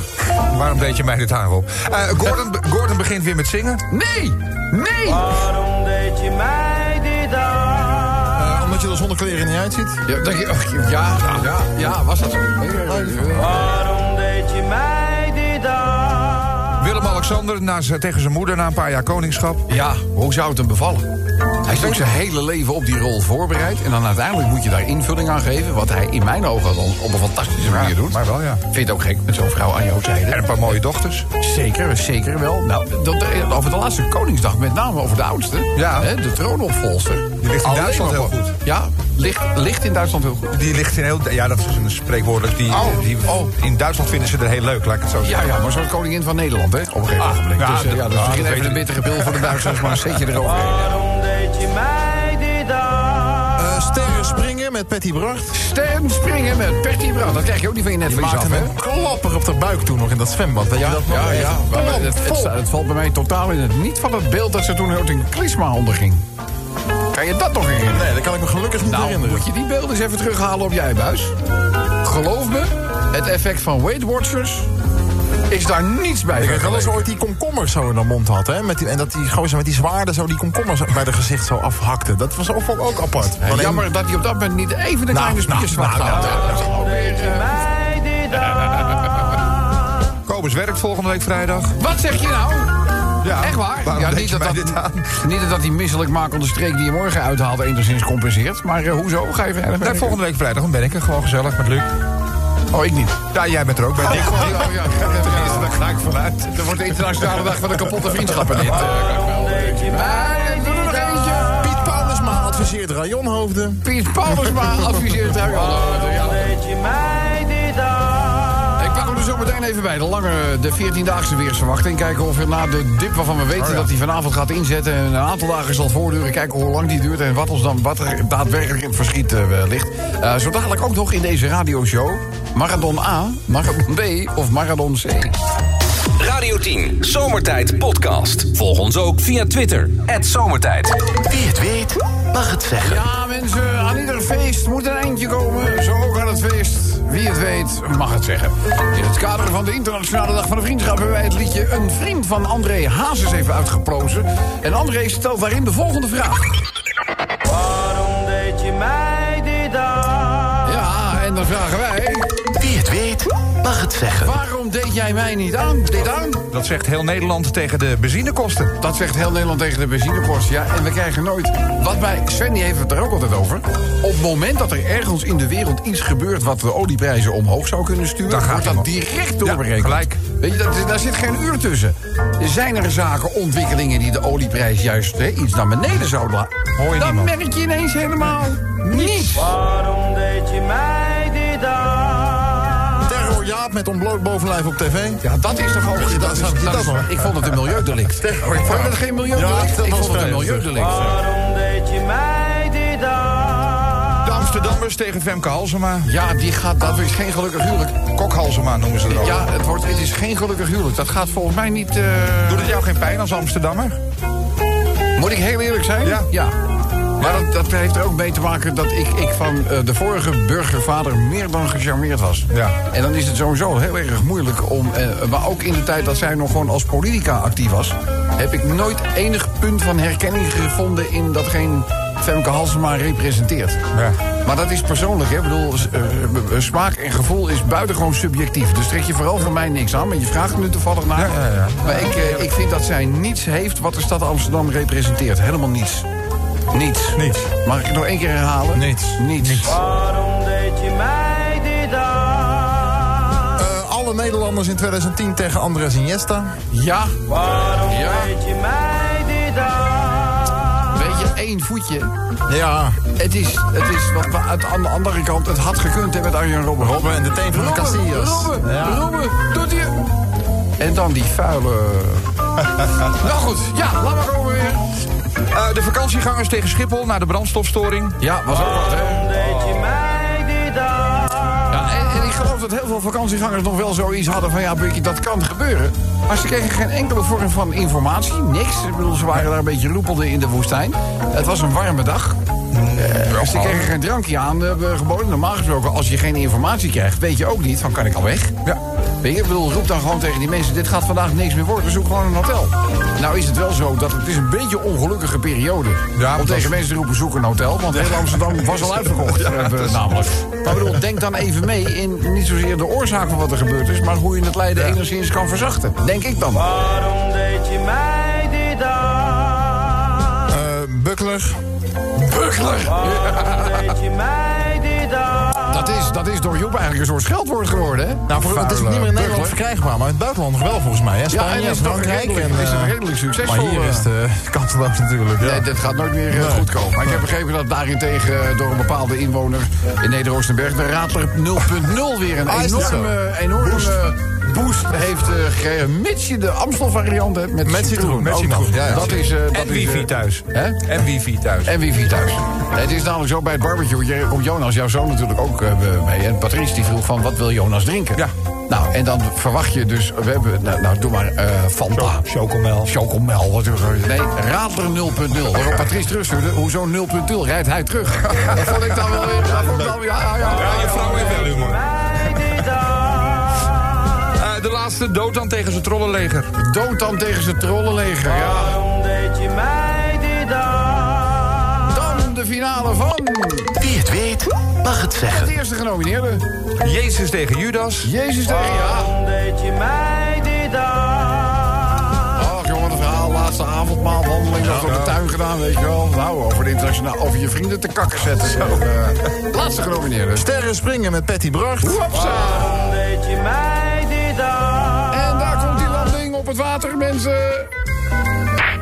Speaker 2: Waarom deed je mij dit aan, Rob? Eh, Gordon, Gordon begint weer met zingen.
Speaker 3: Nee! Nee!
Speaker 7: Waarom deed je mij dit aan?
Speaker 8: Eh, omdat je er zonder kleren niet uitziet.
Speaker 3: Ja, dank je, oh, ja, ja, ja, was dat zo?
Speaker 7: Waarom deed je mij dit aan?
Speaker 2: Willem-Alexander na z- tegen zijn moeder na een paar jaar koningschap.
Speaker 3: Ja, hoe zou het hem bevallen? Hij is ook zijn hele leven op die rol voorbereid. En dan uiteindelijk moet je daar invulling aan geven. Wat hij in mijn ogen dan op een fantastische manier doet.
Speaker 2: maar wel, ja.
Speaker 3: Vind je het ook gek met zo'n vrouw aan jouw
Speaker 2: En
Speaker 3: zijde?
Speaker 2: een paar mooie dochters.
Speaker 3: Zeker, zeker wel. Nou, dat, over de laatste Koningsdag, met name over de oudste.
Speaker 2: Ja.
Speaker 3: Hè, de troonopvolster.
Speaker 2: Die ligt in
Speaker 3: Alleen
Speaker 2: Duitsland
Speaker 3: maar
Speaker 2: heel goed.
Speaker 3: Ja, ligt, ligt in Duitsland heel goed.
Speaker 2: Die ligt in heel. Ja, dat is een spreekwoordelijk. Die,
Speaker 3: Oh,
Speaker 2: die,
Speaker 3: oh.
Speaker 2: In Duitsland vinden ze er heel leuk, laat ik het zo
Speaker 3: Ja,
Speaker 2: zeggen.
Speaker 3: ja, maar zo'n koningin van Nederland, hè? Op een gegeven
Speaker 2: Ah,
Speaker 3: moment.
Speaker 2: ja,
Speaker 3: dus, eh, ja,
Speaker 2: dat-
Speaker 3: dus
Speaker 2: ah,
Speaker 3: begin
Speaker 2: dat
Speaker 3: even
Speaker 2: weet
Speaker 3: een
Speaker 2: ik.
Speaker 3: bittere pil voor de Duitsers, maar zet je erover.
Speaker 7: Waarom deed je mij dit aan?
Speaker 8: Eh, sterren springen met Patty Bracht.
Speaker 3: Stem springen met Bertie Brown. Dat krijg je ook niet van je netvlies af,
Speaker 8: Maakte
Speaker 3: hè?
Speaker 8: een klapper op de buik toen nog in dat zwembad. Weet je dat nog?
Speaker 3: Ja, ja. Maar
Speaker 8: Klap,
Speaker 3: het, het,
Speaker 8: vol.
Speaker 3: het valt bij mij totaal in het niet van het beeld dat ze toen heel een klisma onderging. Kan je dat nog herinneren?
Speaker 8: Nee, dat kan ik me gelukkig niet
Speaker 3: Nou,
Speaker 8: herinneren.
Speaker 3: moet je die beelden eens even terughalen op jij buis. Geloof me, het effect van Weight Watchers is daar niets bij.
Speaker 8: Ik weet wel eens
Speaker 3: vergeleken.
Speaker 8: ooit die komkommer zo in haar mond had. Hè? Met die, en dat die gozer met die zwaarden zo die komkommer zo bij de gezicht zo afhakte. Dat was ook, ook apart.
Speaker 3: En
Speaker 8: Alleen-
Speaker 3: Jammer dat hij op dat moment niet even de
Speaker 8: Nou,
Speaker 3: kleine spiertjes
Speaker 8: nou,
Speaker 3: had
Speaker 8: nou,
Speaker 3: gehad.
Speaker 8: nou,
Speaker 3: Ja, dat is ook weer, eh,
Speaker 7: Mij dit aan?
Speaker 2: Kobus werkt volgende week vrijdag.
Speaker 3: Wat zeg je nou?
Speaker 2: Ja,
Speaker 3: Echt waar?
Speaker 2: Waarom deed
Speaker 3: niet,
Speaker 2: je
Speaker 3: dat
Speaker 2: mij
Speaker 3: dat,
Speaker 2: dit aan?
Speaker 3: niet dat dat die misselijk maken onder streek die je morgen uithaalt enigszins compenseert. Maar eh, hoezo? Ga je verder?
Speaker 2: Nee, volgende week vrijdag dan ben ik er gewoon gezellig met Luc.
Speaker 3: Oh, ik niet.
Speaker 2: Ja, jij bent er ook bij. Dick.
Speaker 3: Oh, ja.
Speaker 2: Tenminste, daar ga ik vanuit.
Speaker 3: Er wordt de internationale dag van de kapotte vriendschappen eh, dit. Maar, doe er nog eentje.
Speaker 8: Piet Paulusma adviseert rajonhoofden.
Speaker 3: Piet Paulusma adviseert daar.
Speaker 7: Waarom deed je mij dit aan?
Speaker 3: Ik pak hem er zo meteen even even bij de lange, de 14-daagse weersverwachting. Kijken of we na de dip waarvan we weten dat die vanavond gaat inzetten... en een aantal dagen zal voortduren. Kijken hoe lang die duurt en wat, ons dan, wat er daadwerkelijk in het verschiet eh, ligt. Eh, zo dadelijk ook nog in deze radioshow... Marathon A, Marathon B of Marathon C.
Speaker 1: Radio 10, Zomertijd Podcast. Volg ons ook via Twitter, Zomertijd.
Speaker 6: Wie het weet, mag het zeggen.
Speaker 3: Ja, mensen, aan ieder feest moet een eindje komen. Zo ook aan het feest. Wie het weet, mag het zeggen. In het kader van de Internationale Dag van de Vriendschap... hebben wij het liedje Een Vriend van André Hazes even uitgeplozen. En André stelt daarin de volgende vraag.
Speaker 7: Waarom deed je mij dit aan?
Speaker 3: Ja, en dan vragen wij...
Speaker 6: Wie het weet, mag het zeggen.
Speaker 3: waarom deed jij mij niet aan, dit aan?
Speaker 2: Dat zegt heel Nederland tegen de benzinekosten.
Speaker 3: Dat zegt heel Nederland tegen de benzinekost, ja. En we krijgen nooit... Wat bij Sven die heeft het er ook altijd over. Op het moment dat er ergens in de wereld iets gebeurt... wat de olieprijzen omhoog zou kunnen sturen...
Speaker 2: Dan gaat
Speaker 3: wordt dat
Speaker 2: iemand-
Speaker 3: direct doorberekend.
Speaker 2: gelijk.
Speaker 3: Weet je, dat, daar zit geen uur tussen. Zijn er zaken, ontwikkelingen die de olieprijs juist hè, iets naar beneden zouden laten?
Speaker 2: Hoor je
Speaker 3: Dan
Speaker 2: niemand.
Speaker 3: merk je ineens helemaal niets.
Speaker 7: Waarom deed je mij dit aan?
Speaker 8: Terror Jaap met ontbloot bovenlijf op tv.
Speaker 3: Ja, dat is toch ook...
Speaker 8: dat is- dat is-
Speaker 3: ik vond het een milieudelict. Ik vond het geen
Speaker 8: Ja,
Speaker 3: milieudelict.
Speaker 8: dat
Speaker 3: ik
Speaker 8: was
Speaker 3: vond het een
Speaker 8: vrij.
Speaker 7: Ah.
Speaker 3: milieudelict.
Speaker 7: Waarom deed je mij dit aan?
Speaker 2: De Amsterdammers tegen Femke Halsema.
Speaker 3: Ja, die gaat, dat is geen gelukkig huwelijk.
Speaker 2: Kok Halsema noemen ze er ook.
Speaker 3: Ja, het, wordt, het is geen gelukkig huwelijk. Dat gaat volgens mij niet... eh,
Speaker 2: Doet het jou geen pijn als Amsterdammer?
Speaker 3: Moet ik heel eerlijk zijn?
Speaker 2: Ja.
Speaker 3: Maar dat, dat heeft er ook mee te maken dat ik, ik van eh, de vorige burgervader meer dan gecharmeerd was.
Speaker 2: Ja.
Speaker 3: En dan is het sowieso heel erg moeilijk om... eh, maar ook in de tijd dat zij nog gewoon als politica actief was... heb ik nooit enig punt van herkenning gevonden in datgene Femke Halsema representeert.
Speaker 2: Ja.
Speaker 3: Maar dat is persoonlijk, hè. Ik bedoel, s- eh, eh, smaak en gevoel is buitengewoon subjectief. Dus trek je vooral van mij niks aan. Maar je vraagt nu toevallig naar. Maar ik, eh, ik vind dat zij niets heeft wat de stad Amsterdam representeert. Helemaal niets. Niets.
Speaker 2: Niets.
Speaker 3: Mag ik het nog één keer herhalen?
Speaker 2: Niets.
Speaker 3: Niets.
Speaker 7: Waarom deed je mij dit aan?
Speaker 8: Eh, alle Nederlanders in 2010 tegen Andres Iniesta.
Speaker 3: Ja,
Speaker 7: Waarom
Speaker 3: Ja.
Speaker 7: deed je mij dit aan?
Speaker 3: weet je, één voetje.
Speaker 8: Ja,
Speaker 3: Het is, het is wat we uit- aan de andere kant, het had gekund hè, met Arjen Robben.
Speaker 8: Robben en de teen van de Casillas.
Speaker 3: Robben,
Speaker 8: Ja.
Speaker 3: Robben, doet hij het? En dan die vuile... nou goed, ja, laat maar komen weer.
Speaker 2: Eh, de vakantiegangers tegen Schiphol na de brandstofstoring.
Speaker 3: Ja, was ook wat, hè?
Speaker 7: Deed je mij dit aan?
Speaker 3: Ja, en, en ik geloof dat heel veel vakantiegangers nog wel zoiets hadden van... ja, Bukkie, dat kan gebeuren. Maar ze kregen geen enkele vorm van informatie, niks. Ik bedoel, ze waren daar een beetje loepelden in de woestijn. Het was een warme dag. Eh, ze kregen geen drankje aan, hebben geboden. Normaal gesproken, als je geen informatie krijgt, weet je ook niet... van kan ik al weg?
Speaker 2: Ja.
Speaker 3: Weet je, ik bedoel, roep dan gewoon tegen die mensen... dit gaat vandaag niks meer worden, zoek gewoon een hotel. Nou is het wel zo dat het is een beetje een ongelukkige periode...
Speaker 2: want
Speaker 3: om
Speaker 2: dat
Speaker 3: tegen
Speaker 2: is-
Speaker 3: mensen te roepen, zoek een hotel... want heel Amsterdam was al uitverkocht, eh, namelijk. Maar ik bedoel, denk dan even mee in niet zozeer de oorzaak van wat er gebeurd is... maar hoe je het lijden enigszins kan verzachten. Denk ik dan.
Speaker 7: Ah. Waarom deed je mij dit aan?
Speaker 8: eh Buckler.
Speaker 7: Waarom deed je mij dit aan?
Speaker 3: Dat is, dat is door Joep eigenlijk een soort scheldwoord geworden, hè?
Speaker 8: Nou, voor, het is niet
Speaker 3: Vuile
Speaker 8: meer in Nederland
Speaker 3: burger.
Speaker 8: verkrijgbaar, maar in het buitenland nog wel volgens mij. Hè?
Speaker 3: Ja,
Speaker 8: Spanje,
Speaker 3: en is het ook
Speaker 8: Frankrijk.
Speaker 3: redelijk,
Speaker 8: en,
Speaker 3: is het
Speaker 8: eh,
Speaker 3: redelijk
Speaker 8: maar
Speaker 3: succesvol.
Speaker 8: hier
Speaker 3: eh.
Speaker 8: is het eh, kansloos natuurlijk. Ja.
Speaker 3: Nee, dat gaat nooit meer eh, goed komen. Maar ik heb begrepen dat daarentegen eh, door een bepaalde inwoner in Neder-Oostenberg... de Radler 0.0 weer een
Speaker 8: Ah, is dat
Speaker 3: enorme, eh, enorme boost, heeft eh, gekregen. Mits je de Amstel-variant hebt met,
Speaker 8: Met citroen, met
Speaker 3: ook nog.
Speaker 8: citroen, ja, ja.
Speaker 3: Dat is, eh, dat
Speaker 2: En
Speaker 3: is, eh,
Speaker 2: wifi thuis.
Speaker 3: Hè?
Speaker 2: En wifi thuis.
Speaker 3: En wifi thuis. Het is namelijk zo bij het barbecue. want Hier komt Jonas, jouw zoon natuurlijk ook eh, mee. En Patrice die vroeg van, wat wil Jonas drinken?
Speaker 2: Ja.
Speaker 3: Nou, en dan verwacht je dus... We hebben, nou, nou doe maar eh Fanta.
Speaker 2: Cho- Chocomel.
Speaker 3: Chocomel. Wat, nee, Radler 0.0. Waarop Patrice terugstuurde, hoezo 0.0? Rijdt hij terug? dat vond ik dan wel weer... Dat vond ik dan, ja, ja, ja.
Speaker 2: Ja, je vrouw heeft wel humor.
Speaker 7: Mij dit aan?
Speaker 2: Eh, de laatste, Dotan tegen zijn trollenleger.
Speaker 3: Dood dan tegen zijn trollenleger. Ja.
Speaker 7: Waarom deed je mij dit aan?
Speaker 3: Dan de finale van...
Speaker 6: Wie het weet, mag het
Speaker 3: Het
Speaker 6: zeggen.
Speaker 3: eerste genomineerde.
Speaker 2: Jezus tegen Judas.
Speaker 3: Jezus tegen... Ja.
Speaker 7: Waarom deed je mij dit aan?
Speaker 3: Ach jongen, het verhaal, laatste avondmaalwandeling, dat door de tuin gedaan, weet je wel. Nou, over de internationaal, over je vrienden te kakken zetten. En, eh, laatste genomineerde.
Speaker 8: Sterren springen met Patty Bracht.
Speaker 3: Hopsa!
Speaker 7: Waarom deed je mij dit aan?
Speaker 3: En daar komt die landing op het water, mensen.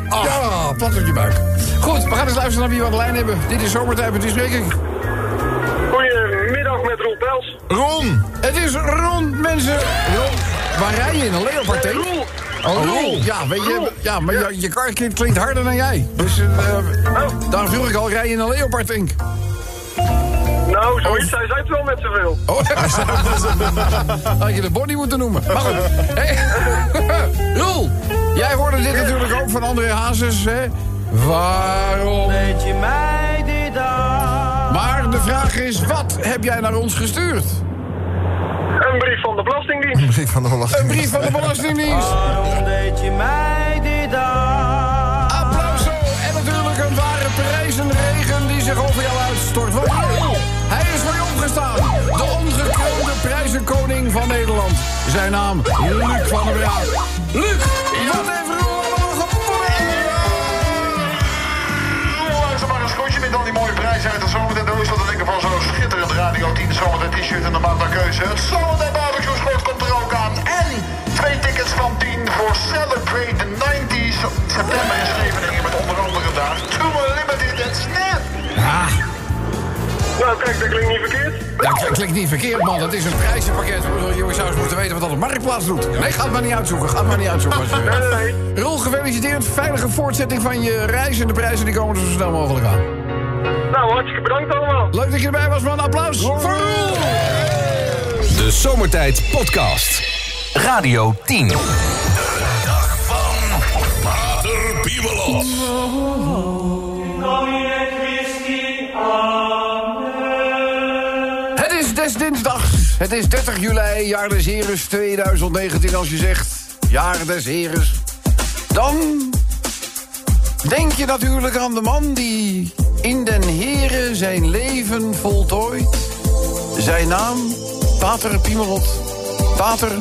Speaker 3: Ja, plat op je buik. Goed, we gaan eens luisteren naar wie we aan de lijn hebben. Dit is Zomertijd met Bespreking.
Speaker 9: Goedemiddag met Roel Pels.
Speaker 8: Ron.
Speaker 3: Het is Ron, mensen. Ron. Waar rij je in? Een leopard tank? Oh,
Speaker 4: Roel.
Speaker 3: Ja, weet je, ja, maar je, je kar klinkt klinkt harder dan jij. Dus eh, daarom vroeg ik al, rij je in een leopard tank?
Speaker 9: Nou, zoiets. Hij zei het wel met zoveel.
Speaker 3: Oh, had je de body moeten noemen. Maar goed. Hey, Roel, jij hoorde dit natuurlijk ook van André Hazes, hè? Waarom?
Speaker 7: Weet je mij dit aan?
Speaker 3: Maar de vraag is, wat heb jij naar ons gestuurd?
Speaker 9: Een brief van de Belastingdienst.
Speaker 8: Brief van de
Speaker 3: Een
Speaker 8: Belasting.
Speaker 3: brief van de Belastingdienst.
Speaker 7: Waarom deed je mij dit aan?
Speaker 3: Applaus en natuurlijk een ware prijzenregen die zich over jou uitstort. Want Roel, hij is voor je opgestaan. De ongekroonde prijzenkoning van Nederland. Zijn naam Luc van der Braak. Luc, wat heeft Roel allemaal gewonnen?
Speaker 10: Luister maar een schoentje met al die mooie prijzen uit de zomertijd. Doos wat een lekker van zo'n schitterend Radio 10 zomertijd t-shirt en de maat naar keuze. Het zomertijd barbecue schort komt er ook aan. En twee tickets van 10 voor Celebrate the 90s. September in Scheveningen met onder andere daar. Too Limited en Snap.
Speaker 9: Nou, kijk, dat klinkt niet verkeerd.
Speaker 3: Ja, kl- klinkt niet verkeerd, man. Dat is een prijzenpakket. Ik bedoel, Jongens, zou eens moeten weten wat dat op Marktplaats doet. Nee, ga het maar niet uitzoeken. Ga het maar niet uitzoeken. als je
Speaker 9: Nee,
Speaker 3: wil.
Speaker 11: Eh,
Speaker 9: nee, nee.
Speaker 3: Roel, gefeliciteerd. Veilige voortzetting van je reis. En de prijzen die komen er zo snel mogelijk aan.
Speaker 9: Nou, hartstikke bedankt allemaal.
Speaker 3: Leuk dat je erbij was, man. Applaus voor Roel.
Speaker 1: De Zomertijd Podcast. Radio 10.
Speaker 4: Pater Piemelos.
Speaker 3: Het is des dinsdags. Het is 30 juli, jaar des heres 2019. Als je zegt, jaar des heres, dan denk je natuurlijk aan de man die in den heren zijn leven voltooit. Zijn naam, Pater Piemelot. Pater,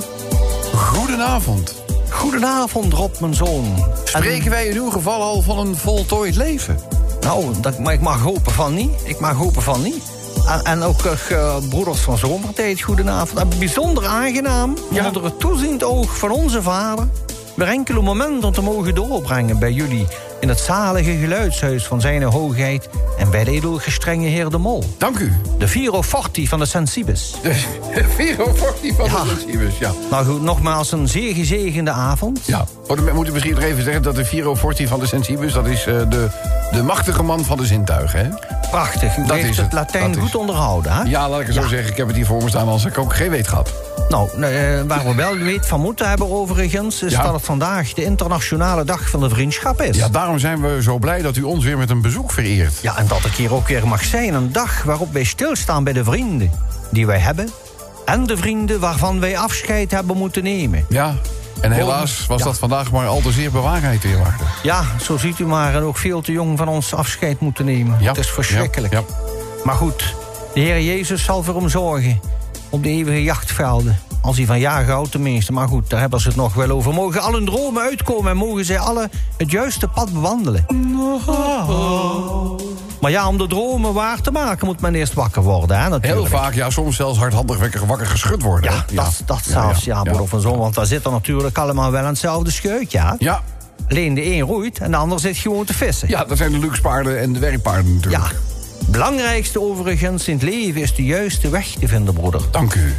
Speaker 3: goedenavond.
Speaker 11: Goedenavond, Rob, mijn zoon.
Speaker 3: Spreken wij in uw geval al van een voltooid leven?
Speaker 11: Nou, dat, maar ik mag hopen van niet. Ik mag hopen van niet. En, en ook eh, broeders van Zomertijd, goedenavond. En bijzonder aangenaam om onder het toeziend oog van onze vader... weer enkele momenten te mogen doorbrengen bij jullie... in het zalige geluidshuis van zijn hoogheid... en bij de edelgestrenge heer de Mol.
Speaker 3: Dank u.
Speaker 11: De Viro Forti van de Sensibus.
Speaker 3: Vero Forti van de Lucibus, ja.
Speaker 11: Nou goed, nogmaals een zeer gezegende avond.
Speaker 3: Ja, oh, dan moeten we misschien nog even zeggen dat de Viro Forti van de Sensibus... dat is eh, de, de machtige man van de zintuigen, hè?
Speaker 11: Prachtig. U
Speaker 3: Dat
Speaker 11: heeft
Speaker 3: is
Speaker 11: het
Speaker 3: het, dat
Speaker 11: Latijn
Speaker 3: is
Speaker 11: goed
Speaker 3: het.
Speaker 11: onderhouden, hè?
Speaker 3: Ja, laat ik het zo zeggen. Ik heb het hier voor me staan, anders had ik ook geen weet gehad.
Speaker 11: Nou, eh, waar we wel weet van moeten hebben overigens... is
Speaker 3: Ja.
Speaker 11: dat het vandaag de internationale dag van de vriendschap is.
Speaker 3: Ja, daarom zijn we zo blij dat u ons weer met een bezoek vereert.
Speaker 11: Ja, en dat ik hier ook weer mag zijn. Een dag waarop wij stilstaan bij de vrienden die wij hebben... en de vrienden waarvan wij afscheid hebben moeten nemen.
Speaker 3: Ja, en helaas was
Speaker 11: Ja.
Speaker 3: dat vandaag maar al te zeer bewaarheid, heer Wagner.
Speaker 11: Ja, zo ziet u maar, en ook veel te jong van ons afscheid moeten nemen.
Speaker 3: Ja,
Speaker 11: Het is verschrikkelijk.
Speaker 3: ja,
Speaker 11: Maar goed, de Heer Jezus zal voor hem zorgen op de eeuwige jachtvelden. Als hij van jaren houdt tenminste, maar goed, daar hebben ze het nog wel over. Mogen al hun dromen uitkomen en mogen zij alle het juiste pad bewandelen. Maar ja, om de dromen waar te maken moet men eerst wakker worden, hè, natuurlijk.
Speaker 3: Heel vaak, ja, soms zelfs hardhandig wekker- wakker geschud worden.
Speaker 11: Ja,
Speaker 3: hè?
Speaker 11: dat, dat zelfs, ja, broer van zoon. Want daar zitten natuurlijk allemaal wel aan hetzelfde scheutje. hè.
Speaker 3: Ja,
Speaker 11: Alleen de een roeit en de ander zit gewoon te vissen.
Speaker 3: ja, dat zijn de luxe paarden en de werkpaarden natuurlijk.
Speaker 11: Ja. Belangrijkste overigens in het leven is de juiste weg te vinden, broeder.
Speaker 3: Dank u.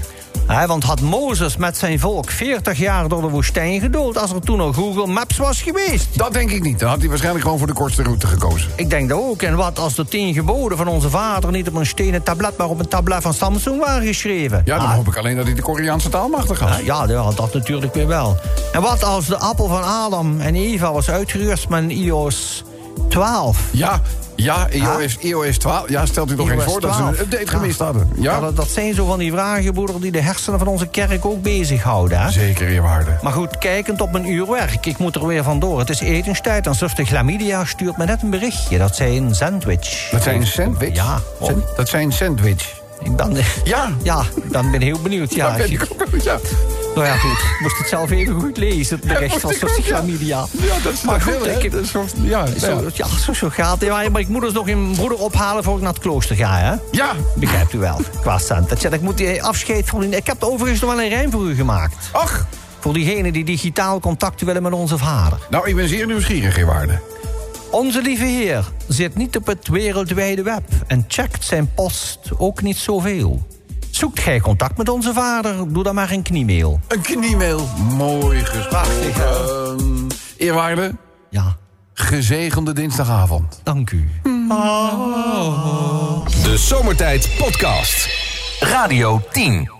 Speaker 11: Hè, want had Mozes met zijn volk 40 jaar door de woestijn gedood... als er toen al Google Maps was geweest?
Speaker 3: Dat denk ik niet. Dan had hij waarschijnlijk gewoon voor de kortste route gekozen.
Speaker 11: Ik denk dat ook. En wat als de tien geboden van onze vader... niet op een stenen tablet, maar op een tablet van Samsung waren geschreven?
Speaker 3: Ja, dan
Speaker 11: Ah,
Speaker 3: hoop ik alleen dat hij de Koreaanse taal machtig had.
Speaker 11: Ah, Ja, ja, dat natuurlijk weer wel. En wat als de appel van Adam en Eva was uitgerust met een iOS 12?
Speaker 3: Ja, ja, E iOS, iOS 12. Ja, stelt u toch geen
Speaker 11: iOS
Speaker 3: voor dat ze
Speaker 11: 12?
Speaker 3: een update
Speaker 11: Ja.
Speaker 3: gemist hadden.
Speaker 11: Ja,
Speaker 3: Ja,
Speaker 11: dat, dat zijn zo van die vragen, broeder, die de hersenen van onze kerk ook bezighouden. Hè?
Speaker 3: zeker eerwaarde.
Speaker 11: Maar goed, kijkend op mijn uurwerk, ik moet er weer vandoor. Het is etenstijd en zuster Glamidia stuurt me net een berichtje. Dat zij een sandwich.
Speaker 3: Dat zijn sandwich?
Speaker 11: Ja.
Speaker 3: San- dat zijn sandwich.
Speaker 11: Ik ben,
Speaker 3: Ja.
Speaker 11: ja, ik ben, ben heel benieuwd. Ja,
Speaker 3: dat ben ik ook wel, ja.
Speaker 11: Nou ja, goed. Ik moest het zelf even goed lezen, het bericht
Speaker 3: moest
Speaker 11: van
Speaker 3: ik
Speaker 11: zuster
Speaker 3: ook, ja.
Speaker 11: Glamidia.
Speaker 3: Ja, dat is
Speaker 11: Maar
Speaker 3: maar
Speaker 11: goed,
Speaker 3: veel, hè.
Speaker 11: ik heb-
Speaker 3: Dat is soms- ja,
Speaker 11: Zo,
Speaker 3: ja.
Speaker 11: ja, zo, zo gaat het. Maar- Maar ik moet dus nog een broeder ophalen voor ik naar het klooster ga, hè?
Speaker 3: Ja,
Speaker 11: Begrijpt u wel, qua centen. Ik moet die afscheid van... Ik heb overigens nog wel een rijm voor u gemaakt.
Speaker 3: ach.
Speaker 11: Voor diegenen die digitaal contact willen met onze vader.
Speaker 3: Nou, ik ben zeer nieuwsgierig, eerwaarde.
Speaker 11: Onze lieve heer zit niet op het wereldwijde web... en checkt zijn post ook niet zoveel. Zoekt gij contact met onze vader? Doe dan maar een kniemail.
Speaker 3: Een kniemail. Mooi gesproken.
Speaker 11: Prachtig, hè?
Speaker 3: Ehm, eerwaarde.
Speaker 11: Ja.
Speaker 3: Gezegende dinsdagavond.
Speaker 11: Dank u.
Speaker 1: De Zomertijd Podcast. Radio 10.